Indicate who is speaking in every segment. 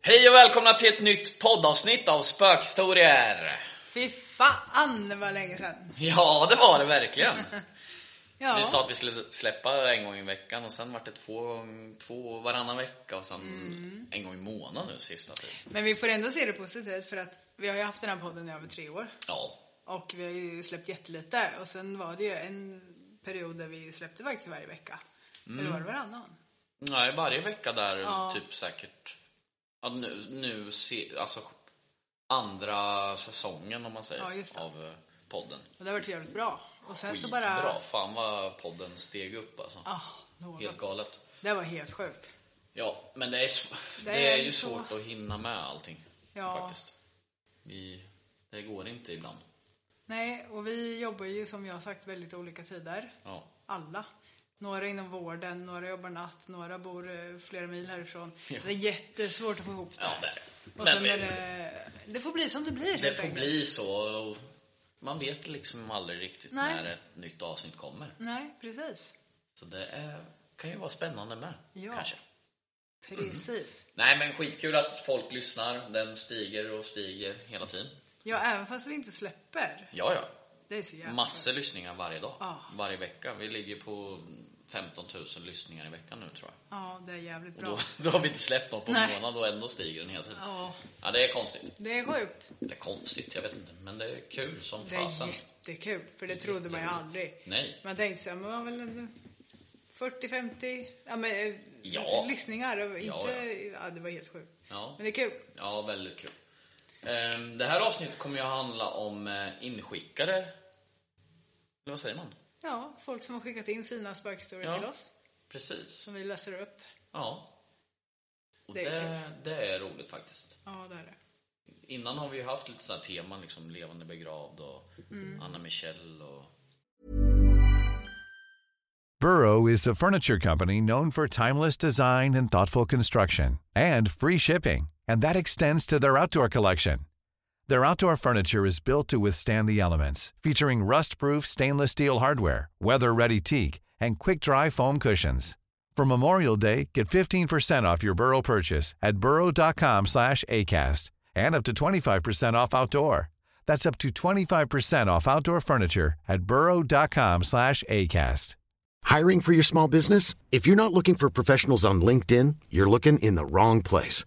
Speaker 1: Hej och välkomna till ett nytt poddavsnitt av Spökhistorier!
Speaker 2: Fy fan vad länge sedan.
Speaker 1: Ja, det var det verkligen!
Speaker 2: Ja.
Speaker 1: Vi sa att vi skulle släppa en gång i veckan och sen vart det två, två varannan vecka och sen
Speaker 2: Mm.
Speaker 1: en gång i månaden nu sista typ.
Speaker 2: Men vi får ändå se det positivt för att vi har ju haft den här podden i över tre år.
Speaker 1: Ja,
Speaker 2: Och vi har ju släppt jättelite. Och sen var det ju en period där vi släppte faktiskt varje vecka.
Speaker 1: Mm.
Speaker 2: Eller var det varannan?
Speaker 1: nej, varje vecka där
Speaker 2: Ja.
Speaker 1: typ säkert, ja, nu, nu se, alltså andra säsongen om man säger
Speaker 2: Ja, just det.
Speaker 1: av eh, podden.
Speaker 2: Och det har varit jävligt bra. Och sen så
Speaker 1: Skitbra,
Speaker 2: bara...
Speaker 1: fan vad podden steg upp alltså.
Speaker 2: Ah, något.
Speaker 1: Helt galet.
Speaker 2: Det var helt sjukt.
Speaker 1: Ja, men det är, sv- det
Speaker 2: Det
Speaker 1: är,
Speaker 2: är
Speaker 1: ju
Speaker 2: så.
Speaker 1: svårt att hinna med allting.
Speaker 2: Ja.
Speaker 1: Faktiskt. Vi, det går inte ibland.
Speaker 2: Nej, och vi jobbar ju som jag har sagt väldigt olika tider.
Speaker 1: Ja.
Speaker 2: Alla. Några inom vården, några jobbar natt, några bor eh, flera mil härifrån.
Speaker 1: Ja.
Speaker 2: Det är jättesvårt att få ihop det.
Speaker 1: Ja, det är det.
Speaker 2: Och
Speaker 1: Men
Speaker 2: sen
Speaker 1: vi-
Speaker 2: är det, det får bli som det blir
Speaker 1: Det
Speaker 2: helt
Speaker 1: får
Speaker 2: enkelt.
Speaker 1: bli så. och Man vet liksom aldrig riktigt
Speaker 2: Nej.
Speaker 1: när ett nytt avsnitt kommer.
Speaker 2: Nej, precis.
Speaker 1: Så det är, kan ju vara spännande med.
Speaker 2: Ja.
Speaker 1: Kanske. Mhm.
Speaker 2: Precis.
Speaker 1: Nej, men skitkul att folk lyssnar. Den stiger och stiger hela tiden.
Speaker 2: Ja, även fast vi inte släpper.
Speaker 1: Ja, ja.
Speaker 2: Det är så jävla
Speaker 1: Massor lyssningar varje dag.
Speaker 2: Ja.
Speaker 1: Varje vecka. Vi ligger på 15 000 lyssningar i veckan nu tror jag.
Speaker 2: Ja, det är jävligt
Speaker 1: Och
Speaker 2: bra.
Speaker 1: då, då har vi inte släppt något på en
Speaker 2: Nej.
Speaker 1: månad och ändå stiger den hela tiden.
Speaker 2: Ja,
Speaker 1: Ja, det är konstigt.
Speaker 2: det är sjukt.
Speaker 1: Eller konstigt, jag vet inte. Men det är kul som
Speaker 2: Det
Speaker 1: fasen.
Speaker 2: är jättekul, för det trodde man ju aldrig.
Speaker 1: Nej.
Speaker 2: Man tänkte så här, men man väl en 40-50 ja, men, eh,
Speaker 1: Ja.
Speaker 2: lyssningar. och Inte,
Speaker 1: Ja,
Speaker 2: ja,
Speaker 1: ja.
Speaker 2: det var helt sjukt.
Speaker 1: Ja.
Speaker 2: Men det är kul.
Speaker 1: ja, väldigt kul. Ehm, Det här avsnittet kommer ju att handla om eh, inskickade... Eller vad säger man?
Speaker 2: Ja, folk som har skickat in sina spökhistorier
Speaker 1: Ja.
Speaker 2: till oss,
Speaker 1: Precis.
Speaker 2: som vi läser upp.
Speaker 1: Ja. Och
Speaker 2: Mm. Det
Speaker 1: det,
Speaker 2: är
Speaker 1: det, är roligt faktiskt.
Speaker 2: Ja, det är det.
Speaker 1: Innan har vi ju haft lite sådana teman, liksom levande begravd och
Speaker 2: Mm.
Speaker 1: Anna Michelle och...
Speaker 3: Burrow is a furniture company known for timeless design and thoughtful construction and free shipping, and that extends to their outdoor collection. Their outdoor furniture is built to withstand the elements, featuring rust-proof stainless steel hardware, weather-ready teak, and quick-dry foam cushions. For Memorial Day, get 15% off your Burrow purchase at burrow.com/acast and up to 25% off outdoor. That's up to 25% off outdoor furniture at burrow.com/acast.
Speaker 4: Hiring for your small business? If you're not looking for professionals on LinkedIn, you're looking in the wrong place.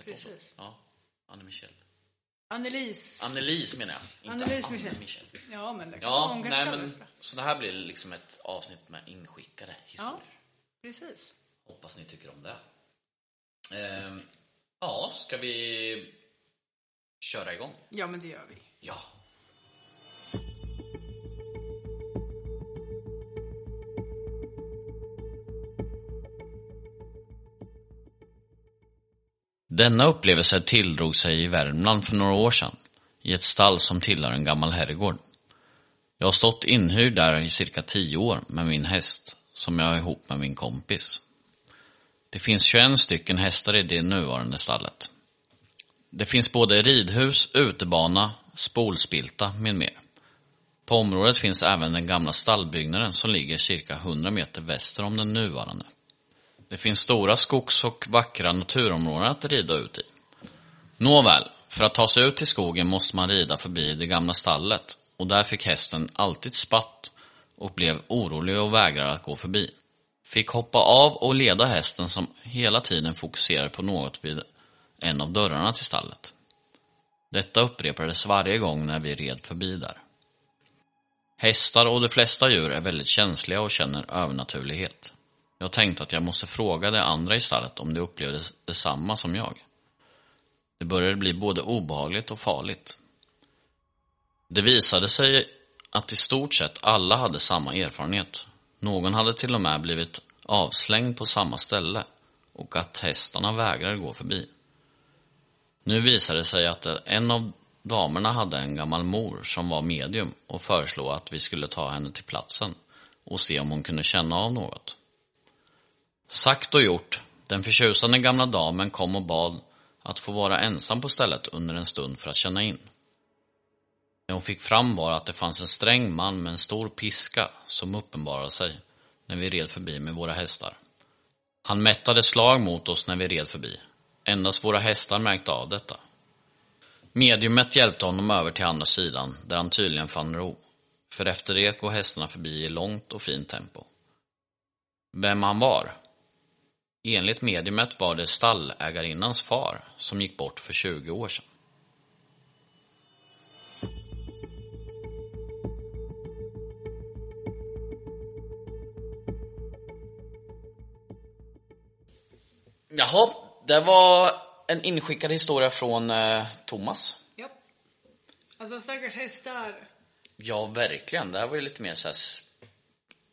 Speaker 1: hette hon så?
Speaker 2: Precis.
Speaker 1: Ja, Anna Michelle.
Speaker 2: Annelies.
Speaker 1: Annelise menar jag. Inte
Speaker 2: Annelise
Speaker 1: Anna
Speaker 2: Michelle.
Speaker 1: Michelle.
Speaker 2: ja, men det kan ja,
Speaker 1: Ja,
Speaker 2: hon kanske
Speaker 1: nej,
Speaker 2: kallar
Speaker 1: men,
Speaker 2: oss bra.
Speaker 1: så det här blir liksom ett avsnitt med inskickade
Speaker 2: Ja,
Speaker 1: historier.
Speaker 2: precis.
Speaker 1: Hoppas ni tycker om det. Ehm, ja, ska vi köra igång?
Speaker 2: Ja, men det gör vi.
Speaker 1: Ja. Denna upplevelse tilldrog sig i Värmland för några år sedan i ett stall som tillhör en gammal herrgård. Jag har stått inhyrd där i cirka tio år med min häst som jag har ihop med min kompis. Det finns 21 stycken hästar i det nuvarande stallet. Det finns både ridhus, utebana, spolspilta med mer. På området finns även den gamla stallbyggnaden som ligger cirka 100 meter väster om den nuvarande. Det finns stora skogs och vackra naturområden att rida ut i. Nåväl, för att ta sig ut till skogen måste man rida förbi det gamla stallet och där fick hästen alltid spatt och blev orolig och vägrade att gå förbi. Fick hoppa av och leda hästen som hela tiden fokuserade på något vid en av dörrarna till stallet. Detta upprepades varje gång när vi red förbi där. Hästar och de flesta djur är väldigt känsliga och känner övernaturlighet. Jag tänkte att jag måste fråga de andra i stallet om de upplevde detsamma som jag. Det började bli både obehagligt och farligt. Det visade sig att i stort sett alla hade samma erfarenhet. Någon hade till och med blivit avslängd på samma ställe och att hästarna vägrade gå förbi. Nu visade det sig att en av damerna hade en gammal mor som var medium och föreslog att vi skulle ta henne till platsen och se om hon kunde känna av något. Sagt och gjort, den förtjusande gamla damen kom och bad att få vara ensam på stället under en stund för att känna in. Det hon fick fram var att det fanns en sträng man med en stor piska som uppenbarade sig när vi red förbi med våra hästar. Han mättade slag mot oss när vi red förbi. Endast våra hästar märkte av detta. Mediumet hjälpte honom över till andra sidan, där han tydligen fann ro. För efter det går hästarna förbi i långt och fint tempo. Vem han var? Enligt mediumet var det stallägarinnans far som gick bort för 20 år sedan. Jaha, det var en inskickad historia från eh, Thomas.
Speaker 2: Ja. Alltså stackars hästar.
Speaker 1: Ja, verkligen. Det här var ju lite mer så här s-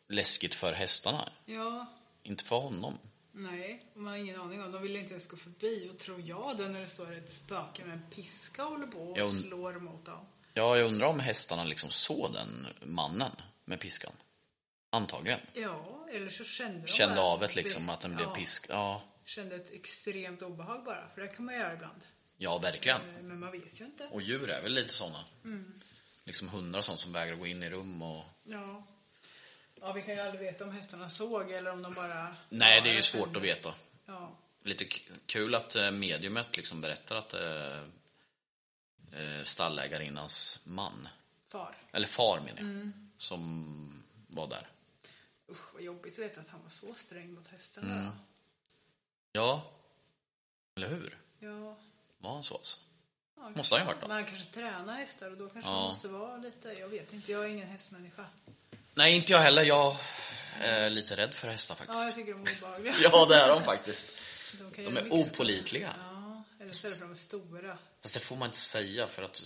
Speaker 1: läskigt för hästarna.
Speaker 2: Ja,
Speaker 1: Inte för honom.
Speaker 2: nej. Man har ingen aning om. De vill inte ens gå förbi. Och tror jag det när det står ett spöke med en piska och håller på och
Speaker 1: Jo.
Speaker 2: slår mot dem.
Speaker 1: Ja, jag undrar om hästarna liksom såg den mannen med piskan. Antagligen.
Speaker 2: Ja, eller så kände de
Speaker 1: Kände
Speaker 2: bara-
Speaker 1: av det liksom, att den blev
Speaker 2: ja,
Speaker 1: pisk. Ja,
Speaker 2: Kände ett extremt obehag bara. För det kan man göra ibland.
Speaker 1: ja verkligen.
Speaker 2: Eh, Men man vet ju inte.
Speaker 1: Och djur är väl lite sådana.
Speaker 2: Mm.
Speaker 1: Liksom hundar och sånt som vägrar gå in i rum och...
Speaker 2: Ja. Ja, vi kan ju aldrig veta om hästarna såg eller om de bara...
Speaker 1: Nej,
Speaker 2: Ja,
Speaker 1: det är ju
Speaker 2: jag
Speaker 1: svårt
Speaker 2: kände-
Speaker 1: att veta.
Speaker 2: Ja.
Speaker 1: Lite k- kul att eh, mediumet liksom berättar att eh, eh, stallägarinnans man,
Speaker 2: Far.
Speaker 1: eller far menar jag,
Speaker 2: Mm.
Speaker 1: som var där.
Speaker 2: Usch, vad jobbigt att veta att han var så sträng mot hästarna.
Speaker 1: Mm.
Speaker 2: då.
Speaker 1: Ja, eller hur?
Speaker 2: Ja.
Speaker 1: Var han så alltså?
Speaker 2: ja,
Speaker 1: Måste han ju ha varit då?
Speaker 2: Men han kanske tränar hästar och då kanske
Speaker 1: Ja.
Speaker 2: man måste vara lite... Jag vet inte, jag är ingen hästmänniska.
Speaker 1: Nej, inte jag heller. Jag eh, är lite rädd för hästar
Speaker 2: Ja, jag
Speaker 1: faktiskt.
Speaker 2: tycker de är obehagliga.
Speaker 1: Ja, det är de faktiskt.
Speaker 2: de, kan
Speaker 1: De
Speaker 2: göra
Speaker 1: är
Speaker 2: mycket
Speaker 1: opålitliga.
Speaker 2: skada. Ja, eller så är det för de är stora.
Speaker 1: Fast det får man inte säga för att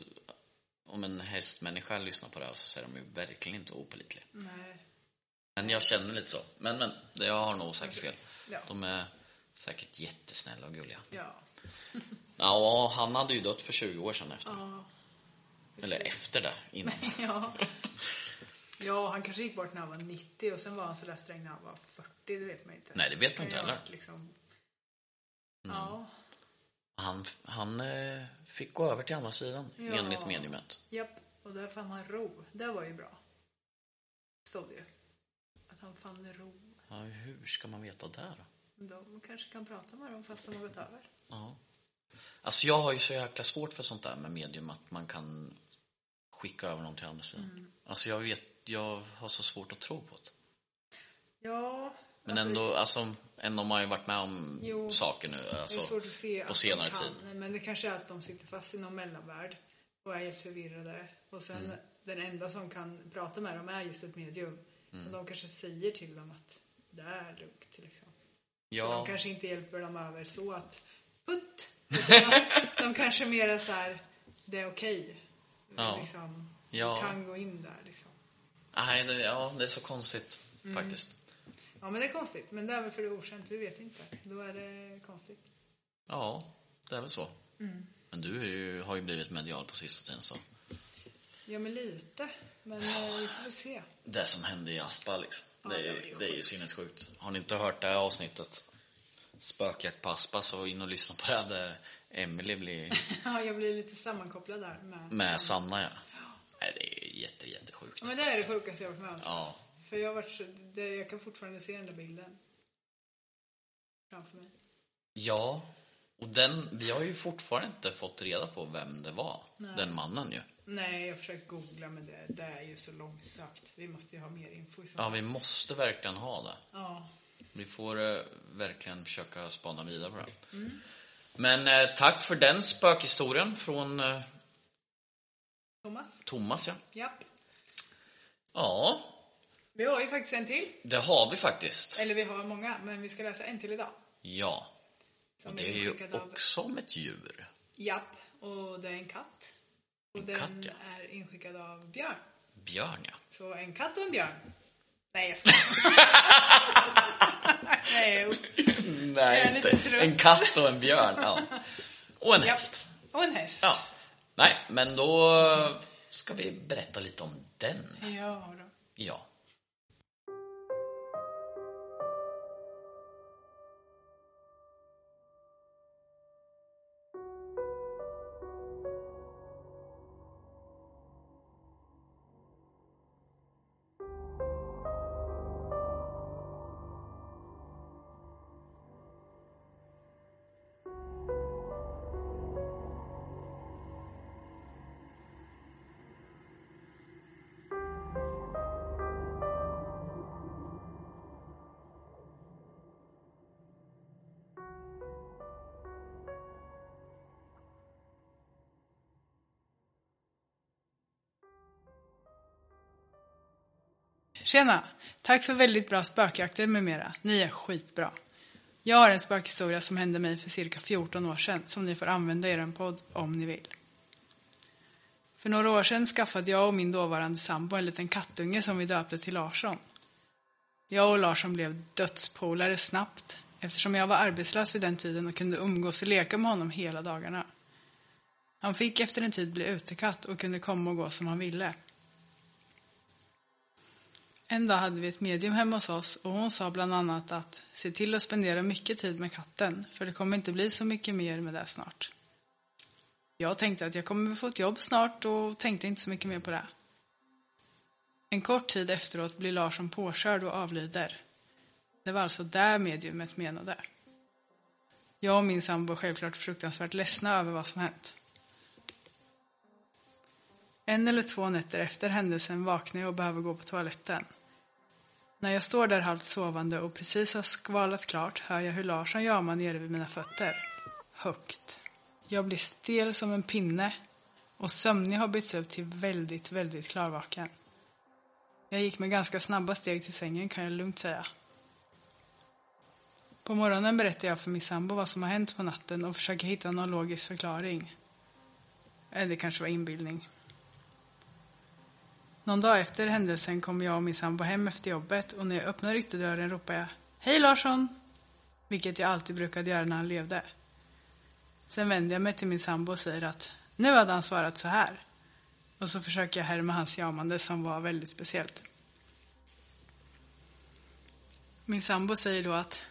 Speaker 1: om en hästmänniska lyssnar på det här så säger de ju verkligen inte opålitliga.
Speaker 2: Nej.
Speaker 1: Men jag känner lite så. Men, men, det- jag har nog säkert fel.
Speaker 2: Ja.
Speaker 1: De är säkert jättesnälla och gulliga.
Speaker 2: Ja.
Speaker 1: Ja, han hade ju dött för 20 år sedan efter.
Speaker 2: Ja.
Speaker 1: Eller efter det, innan.
Speaker 2: ja. Ja, han kanske gick bort när han var 90 och sen var han sådär sträng när han var 40, det vet man inte.
Speaker 1: Nej, det vet man
Speaker 2: Kan
Speaker 1: inte
Speaker 2: ju ha
Speaker 1: heller. Mm.
Speaker 2: varit Liksom... Ja,
Speaker 1: Han, han eh, fick gå över till andra sidan,
Speaker 2: Ja.
Speaker 1: enligt mediumet.
Speaker 2: japp. Och där fann han ro. Det var ju bra. Stod det ju. Att han fann ro.
Speaker 1: Ja, hur ska man veta det då?
Speaker 2: De kanske kan prata med dem fast de har gått över.
Speaker 1: Ja. Alltså jag har ju så jäkla svårt för sånt där med medium att man kan skicka över någon till andra sidan.
Speaker 2: Mm.
Speaker 1: Alltså jag vet, jag har så svårt att tro på det.
Speaker 2: Ja,
Speaker 1: Men ändå, alltså ändå har man ju varit med om
Speaker 2: Jo.
Speaker 1: saker nu
Speaker 2: det är
Speaker 1: alltså,
Speaker 2: svårt att se
Speaker 1: på
Speaker 2: att
Speaker 1: senare
Speaker 2: de
Speaker 1: tid.
Speaker 2: kan. Men det kanske är att de sitter fast i någon mellanvärld och är helt förvirrade. Och sen
Speaker 1: Mm.
Speaker 2: den enda som kan prata med dem är just ett medium.
Speaker 1: Mm.
Speaker 2: Och de kanske säger till dem att det är lugnt liksom. Så de
Speaker 1: Ja,
Speaker 2: kanske inte hjälper dem över så att putt! Utan att de kanske mer är så här, det är okej.
Speaker 1: Ja.
Speaker 2: Liksom,
Speaker 1: Ja.
Speaker 2: Vi kan gå in där liksom.
Speaker 1: nej, det, ja, det är så konstigt
Speaker 2: Mm.
Speaker 1: faktiskt.
Speaker 2: Ja men det är konstigt. Men det är väl för det är okänt, vi vet inte. Då är det konstigt.
Speaker 1: Ja, det är väl så.
Speaker 2: Mm.
Speaker 1: Men du är ju, har ju blivit medial på sista tiden så.
Speaker 2: Ja, men lite. Men eh, vi får väl se.
Speaker 1: Det som hände i Aspa liksom. Det
Speaker 2: det
Speaker 1: är,
Speaker 2: var ju
Speaker 1: det är ju sinnessjukt. Har ni inte hört det här avsnittet Spökjakt på Aspa så in och lyssna på det här där Emily blir
Speaker 2: Ja, jag blir lite sammankopplad där med...
Speaker 1: med Sanna ja. Nej, det är jätte jättesjukt.
Speaker 2: Ja, men det är det sjukaste jag har varit med om.
Speaker 1: Ja,
Speaker 2: För jag, har varit så, det, jag kan fortfarande se den där bilden. Framför mig.
Speaker 1: ja. Och den, vi har ju fortfarande inte fått reda på vem det var. Den mannen ju.
Speaker 2: Nej, jag försöker googla men det, det är ju så långsökt. Vi måste ju ha mer info i så
Speaker 1: Ja,
Speaker 2: fall.
Speaker 1: vi måste verkligen ha det.
Speaker 2: Ja.
Speaker 1: Vi får eh, verkligen
Speaker 2: Mm.
Speaker 1: försöka spana vidare på det. Men eh, tack för den spökhistorien från eh,
Speaker 2: Thomas?
Speaker 1: Thomas, ja.
Speaker 2: Japp.
Speaker 1: Ja,
Speaker 2: Vi har ju faktiskt en till.
Speaker 1: det har vi faktiskt.
Speaker 2: Eller vi har många, men vi ska läsa en till idag.
Speaker 1: Ja, och
Speaker 2: Som
Speaker 1: det är ju
Speaker 2: inskickad av-
Speaker 1: också om ett djur.
Speaker 2: Japp, och det är en katt. Och
Speaker 1: En
Speaker 2: den
Speaker 1: katt, ja.
Speaker 2: är inskickad av Björn.
Speaker 1: Björn, ja.
Speaker 2: Så en katt och en björn. Nej, jag skojar. Nej, upp. Jag är
Speaker 1: Nej,
Speaker 2: lite
Speaker 1: inte.
Speaker 2: trött.
Speaker 1: En katt och en björn, ja. Och en
Speaker 2: Japp.
Speaker 1: häst.
Speaker 2: Och en häst.
Speaker 1: Ja. Nej, men då ska vi berätta lite om den.
Speaker 2: Ja, då.
Speaker 1: Ja.
Speaker 2: Tjena! Tack för väldigt bra spökjakter med mera. Ni är skitbra. Jag har en spökhistoria som hände mig för cirka 14 år sedan som ni får använda i er podd om ni vill. För några år sedan skaffade jag och min dåvarande sambo en liten kattunge som vi döpte till Larsson. Jag och Larsson blev dödspolare snabbt eftersom jag var arbetslös vid den tiden och kunde umgås och leka med honom hela dagarna. Han fick efter en tid bli utekatt och kunde komma och gå som han ville. En dag hade vi ett medium hemma hos oss och hon sa bland annat att se till att spendera mycket tid med katten för det kommer inte bli så mycket mer med det snart. Jag tänkte att jag kommer få ett jobb snart och tänkte inte så mycket mer på det. En kort tid efteråt blir Larsson påkörd och avlider. Det var alltså det mediumet menade. Jag och min sambo är självklart fruktansvärt ledsna över vad som hänt. En eller två nätter efter händelsen vaknar jag och behöver gå på toaletten. När jag står där halvt sovande och precis har skvalat klart hör jag hur Larsson jamar nere vid mina fötter. Högt. Jag blir stel som en pinne och sömnig har bytts ut till väldigt, väldigt klarvaken. Jag gick med ganska snabba steg till sängen kan jag lugnt säga. På morgonen berättar jag för min sambo vad som har hänt på natten och försöker hitta någon logisk förklaring. Eller det kanske var inbildning. Någon dag efter händelsen kom jag och min sambo hem efter jobbet och när jag öppnar ytterdörren ropar jag Hej Larsson! Vilket jag alltid brukade göra när han levde. Sen vänder jag mig till min sambo och säger att nu hade han svarat så här. Och så försöker jag härma hans jamande som var väldigt speciellt. Min sambo säger då att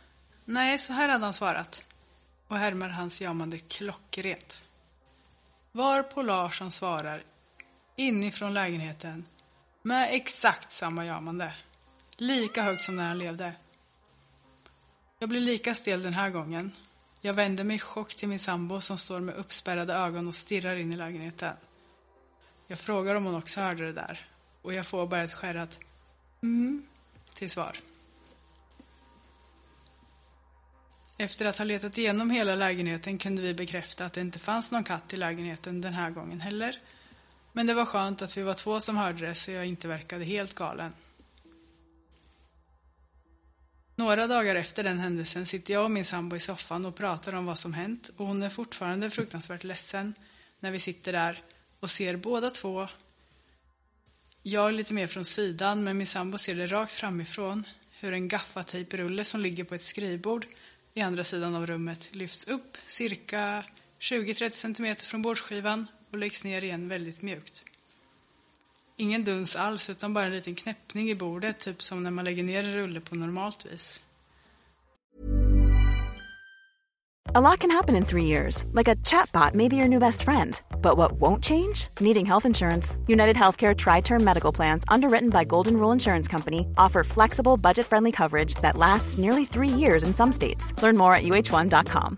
Speaker 2: nej, så här hade han svarat. Och härmar hans jamande klockrent. Varpå Larsson svarar inifrån lägenheten med exakt samma jamande. Lika högt som när han levde. Jag blir lika stel den här gången. Jag vänder mig i chock till min sambo som står med uppspärrade ögon och stirrar in i lägenheten. Jag frågar om hon också hörde det där och jag får bara ett skärrat mm till svar. Efter att ha letat igenom hela lägenheten kunde vi bekräfta att det inte fanns någon katt i lägenheten den här gången heller. Men det var skönt att vi var två som hörde det så jag inte verkade helt galen. Några dagar efter den händelsen sitter jag och min sambo i soffan och pratar om vad som hänt och hon är fortfarande fruktansvärt ledsen när vi sitter där och ser båda två. Jag lite mer från sidan men min sambo ser det rakt framifrån hur en gaffatejprulle som ligger på ett skrivbord i andra sidan av rummet lyfts upp cirka 20-30 cm från bordsskivan och läggs ner igen väldigt mjukt. Ingen duns alls utan bara en liten knäppning i bordet, typ som när man lägger ner en rulle på normalt vis.
Speaker 5: A lot can happen in three years, like a chatbot may be your new best friend. But what won't change? Needing health insurance. United Healthcare Tri Term Medical Plans, underwritten by Golden Rule Insurance Company, offer flexible, budget friendly coverage that lasts nearly three years in some states. Learn more at uh1.com.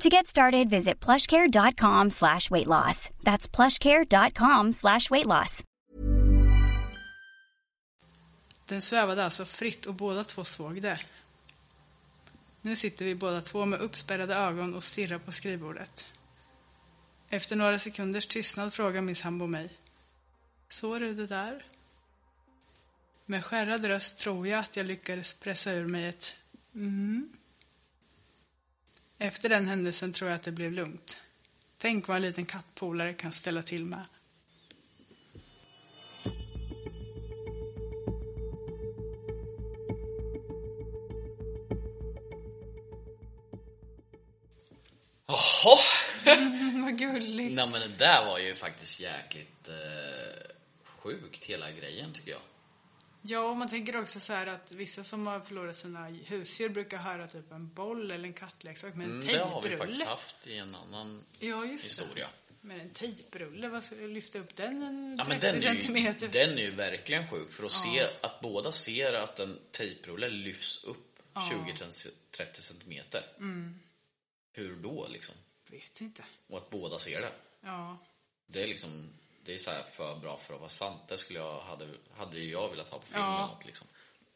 Speaker 6: To get started, visit plushcare.com slash weight loss. That's plushcare.com slash weight loss.
Speaker 2: Den svävade alltså fritt och båda två såg det. Nu sitter vi båda två med uppspärrade ögon och stirrar på skrivbordet. Efter några sekunders tystnad frågar min sambo mig. Såg du det där? Med skärrad röst tror jag att jag lyckades pressa ur mig ett mm. Efter den händelsen tror jag att det blev lugnt. Tänk vad en liten kattpolare kan ställa till med.
Speaker 1: Jaha!
Speaker 2: Vad gulligt.
Speaker 1: Nej men det där var ju faktiskt jäkligt eh, sjukt hela grejen tycker jag.
Speaker 2: Ja, och man tänker också så här att vissa som har förlorat sina husdjur brukar höra typ en boll eller en kattleksak med en
Speaker 1: Mm, det har vi
Speaker 2: tejprulle.
Speaker 1: faktiskt haft i en annan
Speaker 2: Ja, just
Speaker 1: historia.
Speaker 2: det. Men en tejprulle, vad ska jag lyfta upp den en
Speaker 1: Ja,
Speaker 2: 30
Speaker 1: men den, är ju,
Speaker 2: centimeter?
Speaker 1: den är ju verkligen sjuk för att se att båda ser att en tejprulle lyfts upp 20-30 centimeter.
Speaker 2: Mm.
Speaker 1: Hur då liksom?
Speaker 2: Vet inte.
Speaker 1: Och att båda ser det.
Speaker 2: Ja.
Speaker 1: Det är liksom, det är så här för bra för att vara sant. Det skulle jag, hade, hade ju jag velat ha på film
Speaker 2: Ja.
Speaker 1: eller något liksom.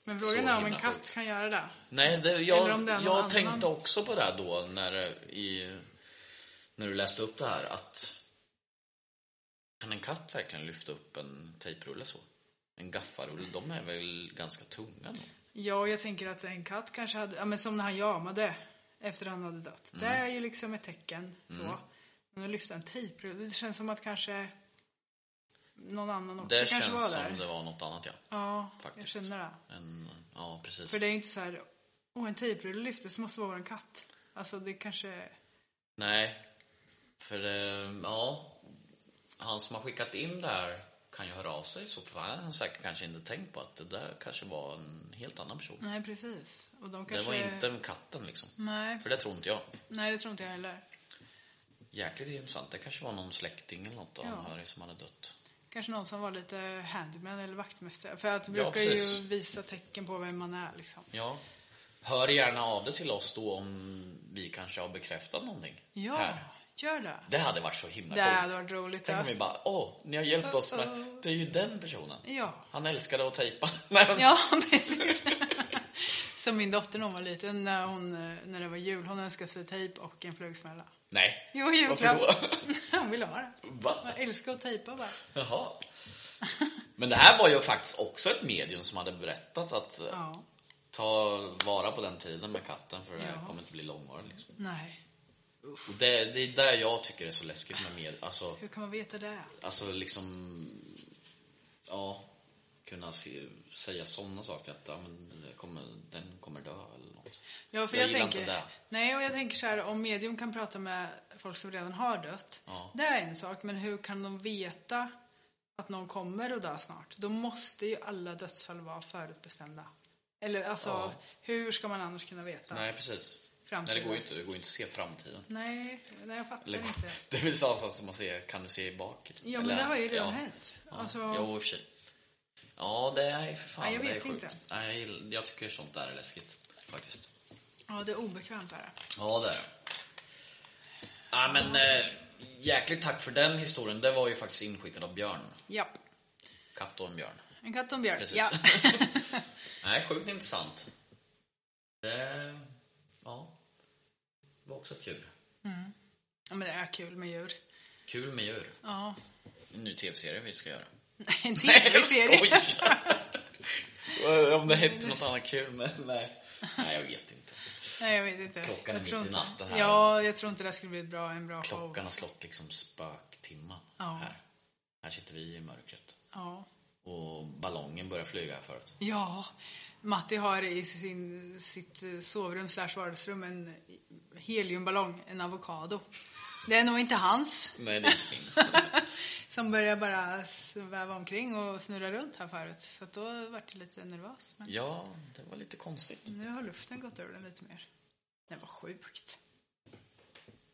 Speaker 2: Men
Speaker 1: Så
Speaker 2: frågan är om en
Speaker 1: himla
Speaker 2: katt
Speaker 1: sjukt.
Speaker 2: kan göra det.
Speaker 1: Nej, det,
Speaker 2: Eller
Speaker 1: jag,
Speaker 2: om det är någon
Speaker 1: jag
Speaker 2: annan.
Speaker 1: tänkte också på det här då när, i, när du läste upp det här att kan en katt verkligen lyfta upp en tejprulle så? En gaffarulle, de är väl ganska tunga då?
Speaker 2: Ja, jag tänker att en katt kanske hade, ja men som när han jamade efter han hade dött. Det
Speaker 1: Mm.
Speaker 2: är ju liksom ett tecken så. Men att lyfta en tejprulle, det känns som att kanske någon annan också
Speaker 1: Det
Speaker 2: kanske
Speaker 1: känns
Speaker 2: var där.
Speaker 1: som det var något annat ja.
Speaker 2: Ja,
Speaker 1: Faktiskt.
Speaker 2: jag känner det.
Speaker 1: En, ja, precis.
Speaker 2: För det är ju inte så här, åh en tejprulle lyfte så måste det vara en katt. Alltså det kanske,
Speaker 1: Nej, för eh, ja, han som har skickat in det här kan ju höra av sig så för han har säkert kanske inte tänkt på att det där kanske var en helt annan person.
Speaker 2: nej precis. Och de
Speaker 1: Det
Speaker 2: Mm, kanske...
Speaker 1: var inte katten liksom.
Speaker 2: Nej,
Speaker 1: För det tror inte jag.
Speaker 2: nej det tror inte jag heller.
Speaker 1: Jäkligt intressant. Det kanske var någon släkting eller något anhörig som hade dött.
Speaker 2: Kanske någon som var lite handman eller vaktmästare. För att
Speaker 1: Ja,
Speaker 2: det brukar
Speaker 1: precis.
Speaker 2: ju visa tecken på vem man är liksom.
Speaker 1: Ja. Hör gärna av dig till oss då om vi kanske har bekräftat någonting.
Speaker 2: Ja,
Speaker 1: Här.
Speaker 2: gör det.
Speaker 1: Det hade varit så himla
Speaker 2: Det
Speaker 1: coolt.
Speaker 2: hade varit roligt,
Speaker 1: Tänk om
Speaker 2: ja.
Speaker 1: vi bara, åh, ni har hjälpt oss med... Det är ju den personen.
Speaker 2: Ja.
Speaker 1: Han älskade att tejpa. Nej, men-
Speaker 2: Ja, precis. Som min dotter när hon var liten, när, hon, eh, när det var jul, hon önskade sig tejp och en flugsmälla.
Speaker 1: Nej.
Speaker 2: Jo, julklapp.
Speaker 1: Varför då?
Speaker 2: hon ville ha det.
Speaker 1: Va?
Speaker 2: Hon älskar att tejpa bara.
Speaker 1: Jaha. Men det här var ju faktiskt också ett medium som hade berättat att eh,
Speaker 2: Ja,
Speaker 1: ta vara på den tiden med katten för det här
Speaker 2: Ja.
Speaker 1: kommer inte bli långvarigt. Liksom.
Speaker 2: nej.
Speaker 1: Och det, det är där jag tycker det är så läskigt med medium. Alltså,
Speaker 2: Hur kan man veta det?
Speaker 1: Alltså liksom... Ja. Kunna se, säga sådana saker att ja, men det kommer, den kommer dö eller något.
Speaker 2: Ja, för
Speaker 1: Jag
Speaker 2: jag,
Speaker 1: gillar
Speaker 2: tänker,
Speaker 1: inte det.
Speaker 2: Nej, och jag tänker så här, om medium kan prata med folk som redan har dött,
Speaker 1: Ja.
Speaker 2: det är en sak, men hur kan de veta att någon kommer att dö snart? Då måste ju alla dödsfall vara förutbestämda. Eller alltså,
Speaker 1: Ja.
Speaker 2: hur ska man annars kunna veta?
Speaker 1: Nej, precis. Nej, det
Speaker 2: Framtiden.
Speaker 1: går ju inte. Det går ju inte att se framtiden.
Speaker 2: Nej, nej jag fattar
Speaker 1: Eller,
Speaker 2: inte.
Speaker 1: det är väl samma sak som man ser, kan du se bak?
Speaker 2: Ja,
Speaker 1: Eller-
Speaker 2: men det har ju redan hänt.
Speaker 1: Ja.
Speaker 2: Alltså,
Speaker 1: Jo, i och för sig. Ja, det är för fan,
Speaker 2: Nej, jag
Speaker 1: det
Speaker 2: vet
Speaker 1: är sjukt.
Speaker 2: inte.
Speaker 1: Nej, jag, gill- jag tycker sånt där är läskigt faktiskt.
Speaker 2: ja, det är obekvämt är det.
Speaker 1: Ja, det är det. Ja, men eh, jäkligt tack för den historien. Det var ju faktiskt inskickad av Björn.
Speaker 2: Japp.
Speaker 1: Katt och en björn.
Speaker 2: En katt och en björn.
Speaker 1: Precis.
Speaker 2: Ja.
Speaker 1: Nej, sjukt intressant. Det ja, var också kul.
Speaker 2: ja, men det är kul med djur.
Speaker 1: Kul med djur.
Speaker 2: Ja.
Speaker 1: En ny tv-serie vi ska göra.
Speaker 2: En
Speaker 1: jag
Speaker 2: tv-serie.
Speaker 1: skojar! Om det hette något annat kul, men nej. Nej, jag vet inte.
Speaker 2: Nej, jag vet inte.
Speaker 1: Klockan
Speaker 2: jag
Speaker 1: är
Speaker 2: tror
Speaker 1: mitt i
Speaker 2: inte.
Speaker 1: natten här.
Speaker 2: Ja, jag tror inte det skulle bli ett bra, en bra show.
Speaker 1: Klockan har slått liksom spöktimma
Speaker 2: Ja.
Speaker 1: här. Här sitter vi i mörkret.
Speaker 2: Ja.
Speaker 1: Och ballongen börjar flyga här förut.
Speaker 2: ja. Matti har i sin, sitt eh, sovrum slash vardagsrum en heliumballong, en avokado. Det är nog inte hans
Speaker 1: Nej, det är inte min.
Speaker 2: som börjar bara sväva omkring och snurra runt här förut. Så att då vart jag lite nervös. Men
Speaker 1: Ja, det var lite konstigt.
Speaker 2: nu har luften gått ur den lite mer. Det var sjukt.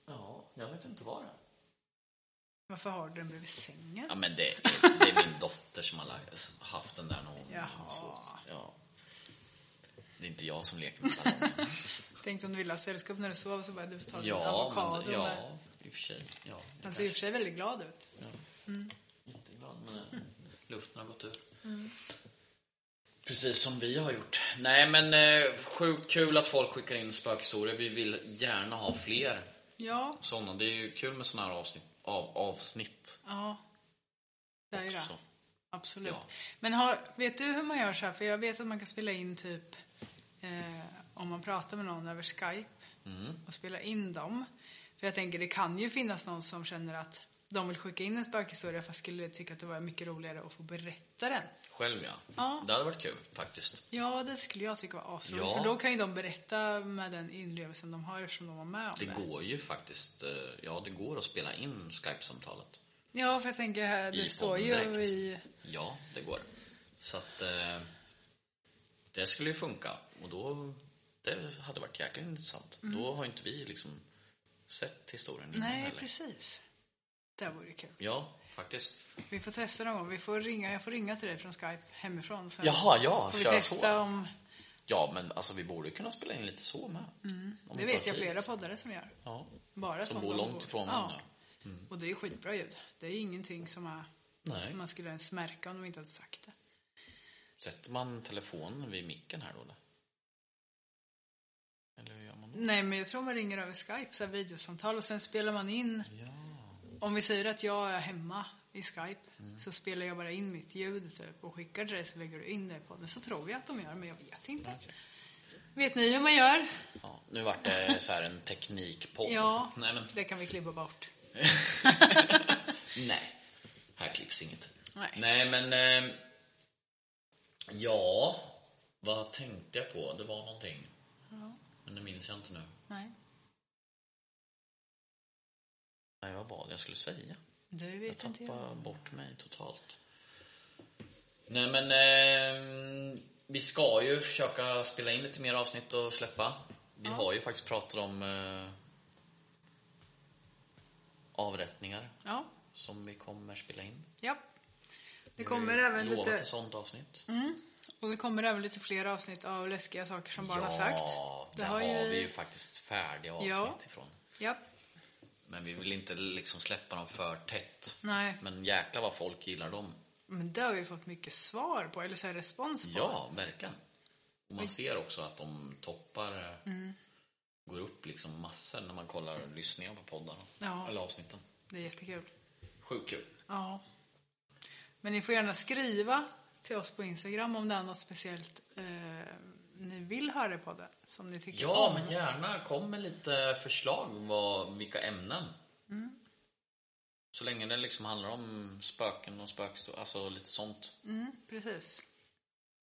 Speaker 1: Ja, jag vet inte vad det är.
Speaker 2: Varför har du den bredvid sängen?
Speaker 1: Ja, men det, det är min dotter. dotter som har lagt- haft den där när hon
Speaker 2: Jaha.
Speaker 1: sågs. Ja. Det är inte jag som leker med ballonger.
Speaker 2: Tänkte om du ville ha sällskap när du sov så bara du får ta din
Speaker 1: ja, men,
Speaker 2: avokado.
Speaker 1: det-
Speaker 2: med-
Speaker 1: ja, i och för sig. Ja,
Speaker 2: Han ser i och för sig väldigt glad ut.
Speaker 1: Ja. Inte ibland, men eh, luften har gått ur. Precis som vi har gjort. Nej, men eh, sjukt kul att folk skickar in spökhistorier. Vi vill gärna ha fler
Speaker 2: Ja,
Speaker 1: sådana. Det är ju kul med sådana här avsnitt. Av, avsnitt
Speaker 2: ja. Det är ju det.
Speaker 1: också.
Speaker 2: Absolut.
Speaker 1: Ja.
Speaker 2: Men har, vet du hur man gör så här? För jag vet att man kan spela in typ eh, om man pratar med någon över Skype och spela in dem. För jag tänker det kan ju finnas någon som känner att de vill skicka in en spökhistoria fast skulle tycka att det var mycket roligare att få berätta den.
Speaker 1: Själv ja.
Speaker 2: Ja.
Speaker 1: Det hade varit kul faktiskt.
Speaker 2: Ja, det skulle jag tycka var asroligt.
Speaker 1: Ja.
Speaker 2: För då kan ju de berätta med den inlevelsen de har eftersom de var med om
Speaker 1: Det
Speaker 2: det.
Speaker 1: går ju faktiskt, eh, ja det går att spela in Skype-samtalet.
Speaker 2: Ja, för jag tänker här, det
Speaker 1: I
Speaker 2: står ju
Speaker 1: podden direkt.
Speaker 2: i...
Speaker 1: Ja, det går. Så att eh, det skulle ju funka och då, det hade varit jäkligt intressant. Då har inte vi liksom sett historien innan
Speaker 2: Mm. Nej,
Speaker 1: heller.
Speaker 2: precis. Det vore kul.
Speaker 1: Ja, faktiskt.
Speaker 2: Vi får testa någon gång. Vi får ringa, jag får ringa till dig från Skype hemifrån. Sen
Speaker 1: Jaha, ja,
Speaker 2: får vi
Speaker 1: köra
Speaker 2: testa
Speaker 1: så.
Speaker 2: om...
Speaker 1: Ja, men alltså vi borde kunna spela in lite så med. Om
Speaker 2: Mm. Det
Speaker 1: vi
Speaker 2: vet
Speaker 1: tar
Speaker 2: jag flera
Speaker 1: tid.
Speaker 2: poddare som gör.
Speaker 1: Ja,
Speaker 2: Bara
Speaker 1: som
Speaker 2: som
Speaker 1: bor
Speaker 2: de
Speaker 1: långt ifrån varandra.
Speaker 2: Och det är ju skitbra ljud. Det är ingenting som är,
Speaker 1: Nej,
Speaker 2: man skulle ens märka om de inte hade sagt det.
Speaker 1: sätter man telefonen vid micken här då? Eller, eller hur gör man då?
Speaker 2: Nej, men jag tror man ringer över Skype, så här videosamtal, och sen spelar man in.
Speaker 1: Ja.
Speaker 2: Om vi säger att jag är hemma i Skype, så spelar jag bara in mitt ljud typ, och skickar till dig, så lägger du in det i podden. Så tror jag att de gör, men jag vet inte.
Speaker 1: okej.
Speaker 2: Vet ni hur man gör?
Speaker 1: Ja, nu vart det så här en teknikpodd.
Speaker 2: Ja,
Speaker 1: Nej, men,
Speaker 2: det kan vi klippa bort.
Speaker 1: nej. Här klipps inget.
Speaker 2: Nej.
Speaker 1: nej men... ehm, ja, vad tänkte jag på? Det var någonting. Men det minns jag inte nu.
Speaker 2: Nej,
Speaker 1: Nej, vad var det jag skulle säga?
Speaker 2: det
Speaker 1: Jag
Speaker 2: vet inte jag.
Speaker 1: tappade bort mig totalt. Nej, men... ehm, vi ska ju försöka spela in lite mer avsnitt och släppa. Vi har ju faktiskt pratat om eh, avrättningar.
Speaker 2: Ja,
Speaker 1: som vi kommer spela in.
Speaker 2: ja. Det
Speaker 1: Vi
Speaker 2: kommer
Speaker 1: har ju
Speaker 2: även
Speaker 1: lovat
Speaker 2: lite...
Speaker 1: ett sånt avsnitt.
Speaker 2: Och det kommer även lite fler avsnitt av läskiga saker som barn
Speaker 1: ja,
Speaker 2: har sagt.
Speaker 1: det har, vi ju faktiskt färdiga avsnitt
Speaker 2: Ja.
Speaker 1: ifrån.
Speaker 2: Ja,
Speaker 1: Men vi vill inte liksom släppa dem för tätt.
Speaker 2: nej.
Speaker 1: Men jäklar vad folk gillar dem.
Speaker 2: Men det har vi fått mycket svar på, eller så här respons på.
Speaker 1: Ja, verkligen. Och man ser också att de toppar, eh, går upp liksom massor när man kollar lyssningar på poddarna.
Speaker 2: Ja.
Speaker 1: Eller avsnitten.
Speaker 2: Det är jättekul.
Speaker 1: Sjukt kul.
Speaker 2: Ja. Men ni får gärna skriva till oss på Instagram om det är något speciellt eh, ni vill höra i podden, som ni tycker
Speaker 1: Ja,
Speaker 2: om.
Speaker 1: men gärna kom med lite förslag vad, vilka ämnen. Så länge det liksom handlar om spöken och spökstor, alltså lite sånt,
Speaker 2: Mm, precis.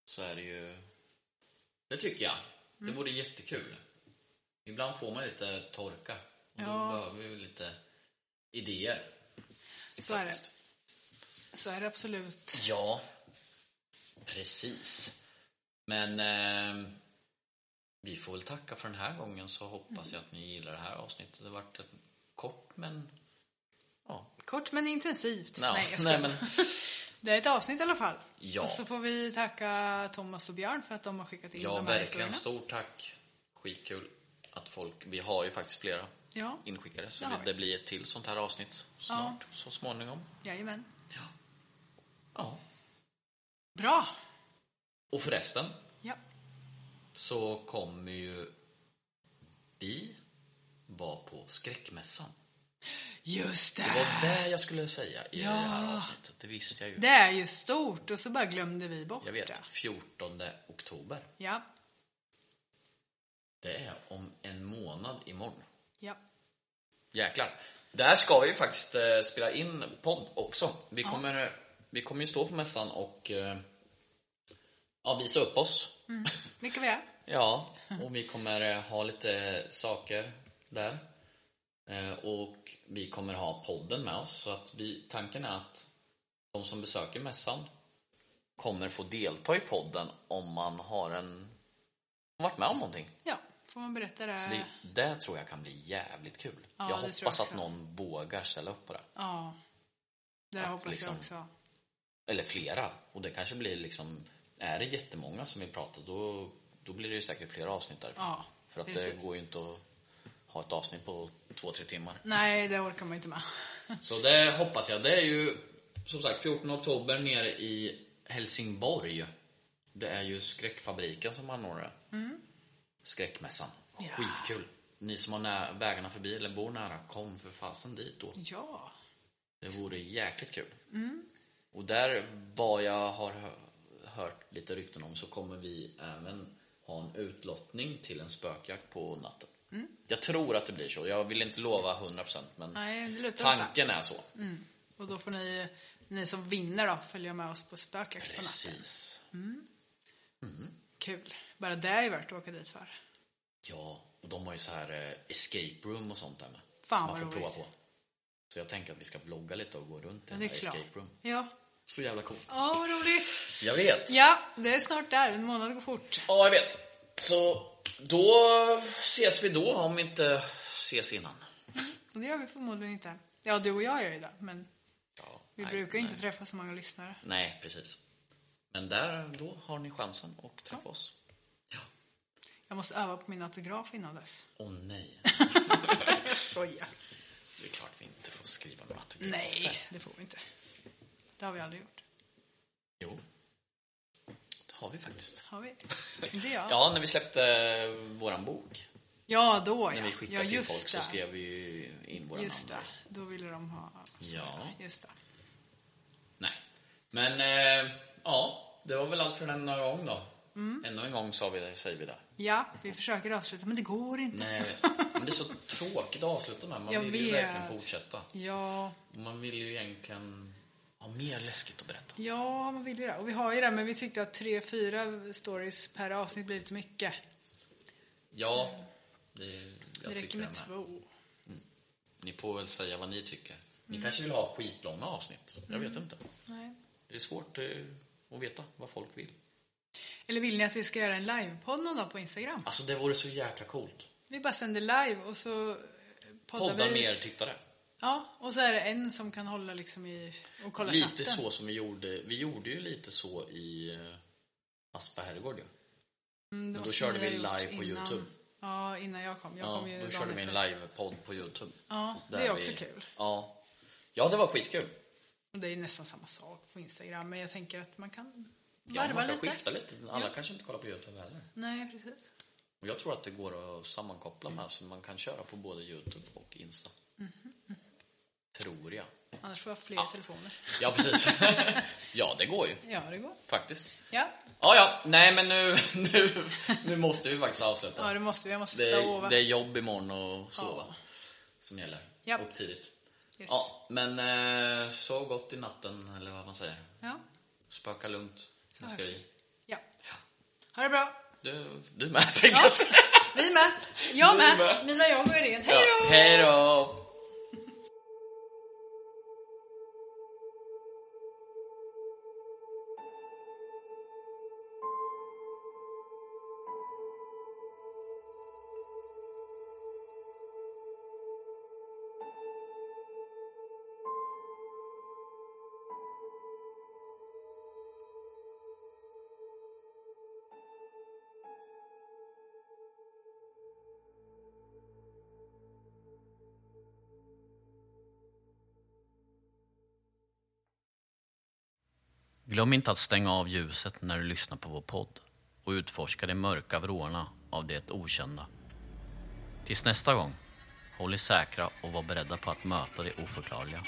Speaker 1: så är det ju... Det tycker jag. Det
Speaker 2: Mm.
Speaker 1: vore jättekul. Ibland får man lite torka. Och
Speaker 2: Ja.
Speaker 1: då behöver vi ju lite idéer.
Speaker 2: Så är det. Så är det absolut.
Speaker 1: Ja, precis. Men eh, vi får väl tacka för den här gången så hoppas jag att ni gillar det här avsnittet. Det har varit ett kort men... Ja,
Speaker 2: Kort men intensivt.
Speaker 1: Ja,
Speaker 2: nej, jag
Speaker 1: nej,
Speaker 2: skojar.
Speaker 1: men-
Speaker 2: Det är ett avsnitt i alla fall.
Speaker 1: Ja.
Speaker 2: Och så får vi tacka Thomas och Björn för att de har skickat in
Speaker 1: ja
Speaker 2: de här
Speaker 1: verkligen.
Speaker 2: historierna.
Speaker 1: Stort tack. Skitkul att folk... Vi har ju faktiskt flera
Speaker 2: Ja,
Speaker 1: inskickade så
Speaker 2: Det har
Speaker 1: det,
Speaker 2: vi.
Speaker 1: det blir ett till sånt här avsnitt snart, så småningom.
Speaker 2: jajamän.
Speaker 1: Ja. ja.
Speaker 2: Bra!
Speaker 1: Och förresten
Speaker 2: Ja.
Speaker 1: så kommer ju vi vara på skräckmässan.
Speaker 2: Just
Speaker 1: Det
Speaker 2: det!
Speaker 1: var det jag skulle säga i
Speaker 2: Ja.
Speaker 1: det här avsnittet. Det visste jag ju.
Speaker 2: Det är ju stort och så bara glömde vi bort
Speaker 1: Jag vet.
Speaker 2: det.
Speaker 1: 14 oktober.
Speaker 2: Ja,
Speaker 1: Det är om en månad imorgon.
Speaker 2: ja.
Speaker 1: Jäklar. Där ska vi ju faktiskt eh, spela in podd också. Vi kommer, eh, vi kommer ju stå på mässan och eh, ja, visa upp oss.
Speaker 2: Vilka vi är.
Speaker 1: Ja, och vi kommer eh, ha lite saker där. Eh, Och vi kommer ha podden med oss. Så att vi, tanken är att de som besöker mässan kommer få delta i podden om man har en varit med om någonting.
Speaker 2: Ja, får man berätta det?
Speaker 1: Så det, det tror jag kan bli jävligt kul.
Speaker 2: Ah. Ja,
Speaker 1: jag
Speaker 2: det tror jag
Speaker 1: hoppas att
Speaker 2: också.
Speaker 1: någon vågar ställa upp på det.
Speaker 2: Ja. Det
Speaker 1: Att
Speaker 2: hoppas
Speaker 1: liksom-
Speaker 2: jag också.
Speaker 1: Eller flera. Och det kanske blir liksom, är det jättemånga som vi pratar då, då blir det ju säkert flera avsnitt därifrån.
Speaker 2: Ja,
Speaker 1: För att det
Speaker 2: precis.
Speaker 1: går ju inte att ha ett avsnitt på två, tre timmar.
Speaker 2: Nej, det orkar man inte med.
Speaker 1: Så det hoppas jag. Det är ju som sagt 14 oktober nere i Helsingborg. Det är ju Skräckfabriken som anordnar det. Skräckmässan. Skitkul. Ni som har nä- vägarna förbi eller bor nära, kom för fasen dit då.
Speaker 2: Ja.
Speaker 1: Det vore jäkligt kul. Och där, vad jag har hö- hört lite rykten om, så kommer vi även ha en utlottning till en spökjakt på natten. Jag tror att det blir så. Jag vill inte lova 100% men
Speaker 2: Nej, det lutar åt det.
Speaker 1: tanken är
Speaker 2: Mm,
Speaker 1: så.
Speaker 2: Och då får ni, ni som vinner då, följa med oss på spökjakt på natten.
Speaker 1: Precis.
Speaker 2: Kul. Bara det är ju värt att åka dit för.
Speaker 1: Ja, och de har ju så här eh, escape room och sånt där med.
Speaker 2: Fan,
Speaker 1: som man
Speaker 2: vad
Speaker 1: får prova
Speaker 2: roligt.
Speaker 1: på. Så jag tänker att vi ska vlogga lite och gå runt i den
Speaker 2: Men det är
Speaker 1: här
Speaker 2: klart.
Speaker 1: escape room.
Speaker 2: Ja.
Speaker 1: Så jävla coolt.
Speaker 2: Ja, vad roligt.
Speaker 1: Jag vet.
Speaker 2: Ja, det är snart där. En månad går fort.
Speaker 1: Ja, jag vet. Så då ses vi då om vi inte ses innan.
Speaker 2: Och det gör vi förmodligen inte. Ja, du och jag gör ju det, men
Speaker 1: Ja,
Speaker 2: vi brukar ju inte träffa så många lyssnare.
Speaker 1: Nej, precis. Men där, då har ni chansen att träffa oss.
Speaker 2: Jag måste öva på min autograf innan dess.
Speaker 1: Åh nej,
Speaker 2: Jag skojar.
Speaker 1: det är klart vi inte får skriva några autografer.
Speaker 2: Nej, det får vi inte. Det har vi aldrig gjort.
Speaker 1: Jo, det har vi faktiskt.
Speaker 2: Har vi? Det gör jag.
Speaker 1: Ja, när vi släppte eh, våran bok.
Speaker 2: Ja, då
Speaker 1: När
Speaker 2: ja.
Speaker 1: vi skickade
Speaker 2: ja,
Speaker 1: till
Speaker 2: just
Speaker 1: folk så
Speaker 2: det.
Speaker 1: skrev vi ju in våra
Speaker 2: Just
Speaker 1: namn.
Speaker 2: det. Då ville de ha...
Speaker 1: Ja.
Speaker 2: Just det.
Speaker 1: Nej. Men eh, ja, det var väl allt för denna gång då.
Speaker 2: Mm.
Speaker 1: Ännu en gång sa vi det, säger vi det.
Speaker 2: Ja, vi försöker avsluta, men det går inte.
Speaker 1: Nej, jag vet. Men det är så tråkigt att avsluta med. Man
Speaker 2: Jag
Speaker 1: vill ju
Speaker 2: vet.
Speaker 1: verkligen fortsätta.
Speaker 2: Ja,
Speaker 1: Och Man vill ju egentligen ha mer läskigt att berätta.
Speaker 2: ja, man vill ju det. Och vi har ju det, men vi tyckte att tre, fyra stories per avsnitt blir lite mycket.
Speaker 1: Ja, det, jag
Speaker 2: Mm. det räcker
Speaker 1: tycker
Speaker 2: med
Speaker 1: det med.
Speaker 2: två.
Speaker 1: Ni får väl säga vad ni tycker. Ni kanske vill ha skitlånga avsnitt. Jag vet inte.
Speaker 2: Mm. Nej.
Speaker 1: Det är svårt eh, att veta vad folk vill.
Speaker 2: Eller vill ni att vi ska göra en livepodd någon dag på Instagram?
Speaker 1: Alltså det vore så jäkla coolt.
Speaker 2: Vi bara sänder live och så eh, poddar
Speaker 1: Podda
Speaker 2: vi.
Speaker 1: med er tittare.
Speaker 2: Ja, och så är det en som kan hålla liksom i och kolla
Speaker 1: Lite
Speaker 2: chatten.
Speaker 1: så som vi gjorde. Vi gjorde ju lite så i eh, Aspa herrgård ju.
Speaker 2: Mm, det
Speaker 1: Men då
Speaker 2: måste
Speaker 1: körde
Speaker 2: ni ha
Speaker 1: vi
Speaker 2: gjort
Speaker 1: live på
Speaker 2: innan.
Speaker 1: YouTube.
Speaker 2: Ja, innan jag kom. Jag
Speaker 1: Ja,
Speaker 2: kom ju
Speaker 1: då
Speaker 2: dagen
Speaker 1: körde vi en
Speaker 2: efter.
Speaker 1: livepodd på Youtube.
Speaker 2: Ja, det
Speaker 1: Där
Speaker 2: är också
Speaker 1: vi-
Speaker 2: kul.
Speaker 1: Ja. ja, det var skitkul.
Speaker 2: Och det är nästan samma sak på Instagram, men jag tänker att man kan
Speaker 1: Ja,
Speaker 2: varva
Speaker 1: man kan
Speaker 2: lite.
Speaker 1: skifta lite. Alla kanske inte kollar på Youtube heller.
Speaker 2: Nej, precis.
Speaker 1: Och jag tror att det går att sammankoppla med så man kan köra på både Youtube och Insta.
Speaker 2: Mm-hmm.
Speaker 1: Tror jag.
Speaker 2: Annars får jag fler telefoner.
Speaker 1: Ja, precis. ja, det går ju
Speaker 2: Ja, det går.
Speaker 1: faktiskt.
Speaker 2: Ja,
Speaker 1: Ja, ja. Nej, men nu, nu, nu måste vi faktiskt avsluta.
Speaker 2: ja det måste vi. Jag måste
Speaker 1: Det
Speaker 2: sova.
Speaker 1: är, det är jobb imorgon och sova
Speaker 2: Ja.
Speaker 1: som gäller.
Speaker 2: Japp.
Speaker 1: Upp tidigt.
Speaker 2: Yes.
Speaker 1: Ja, men eh, sov gott i natten, eller vad man säger.
Speaker 2: ja.
Speaker 1: Spöka lugnt. Sen ska vi...
Speaker 2: Ja.
Speaker 1: Ja.
Speaker 2: Ha det bra.
Speaker 1: Du, du med, tänkte jag säga.
Speaker 2: Vi med. Jag med.
Speaker 1: Ni med.
Speaker 2: Mina jag går in. Hej då!
Speaker 1: Ja, Hej då! Glöm inte att stänga av ljuset när du lyssnar på vår podd och utforska de mörka vrårna av det okända. Tills nästa gång, håll er säkra och var beredda på att möta det oförklarliga.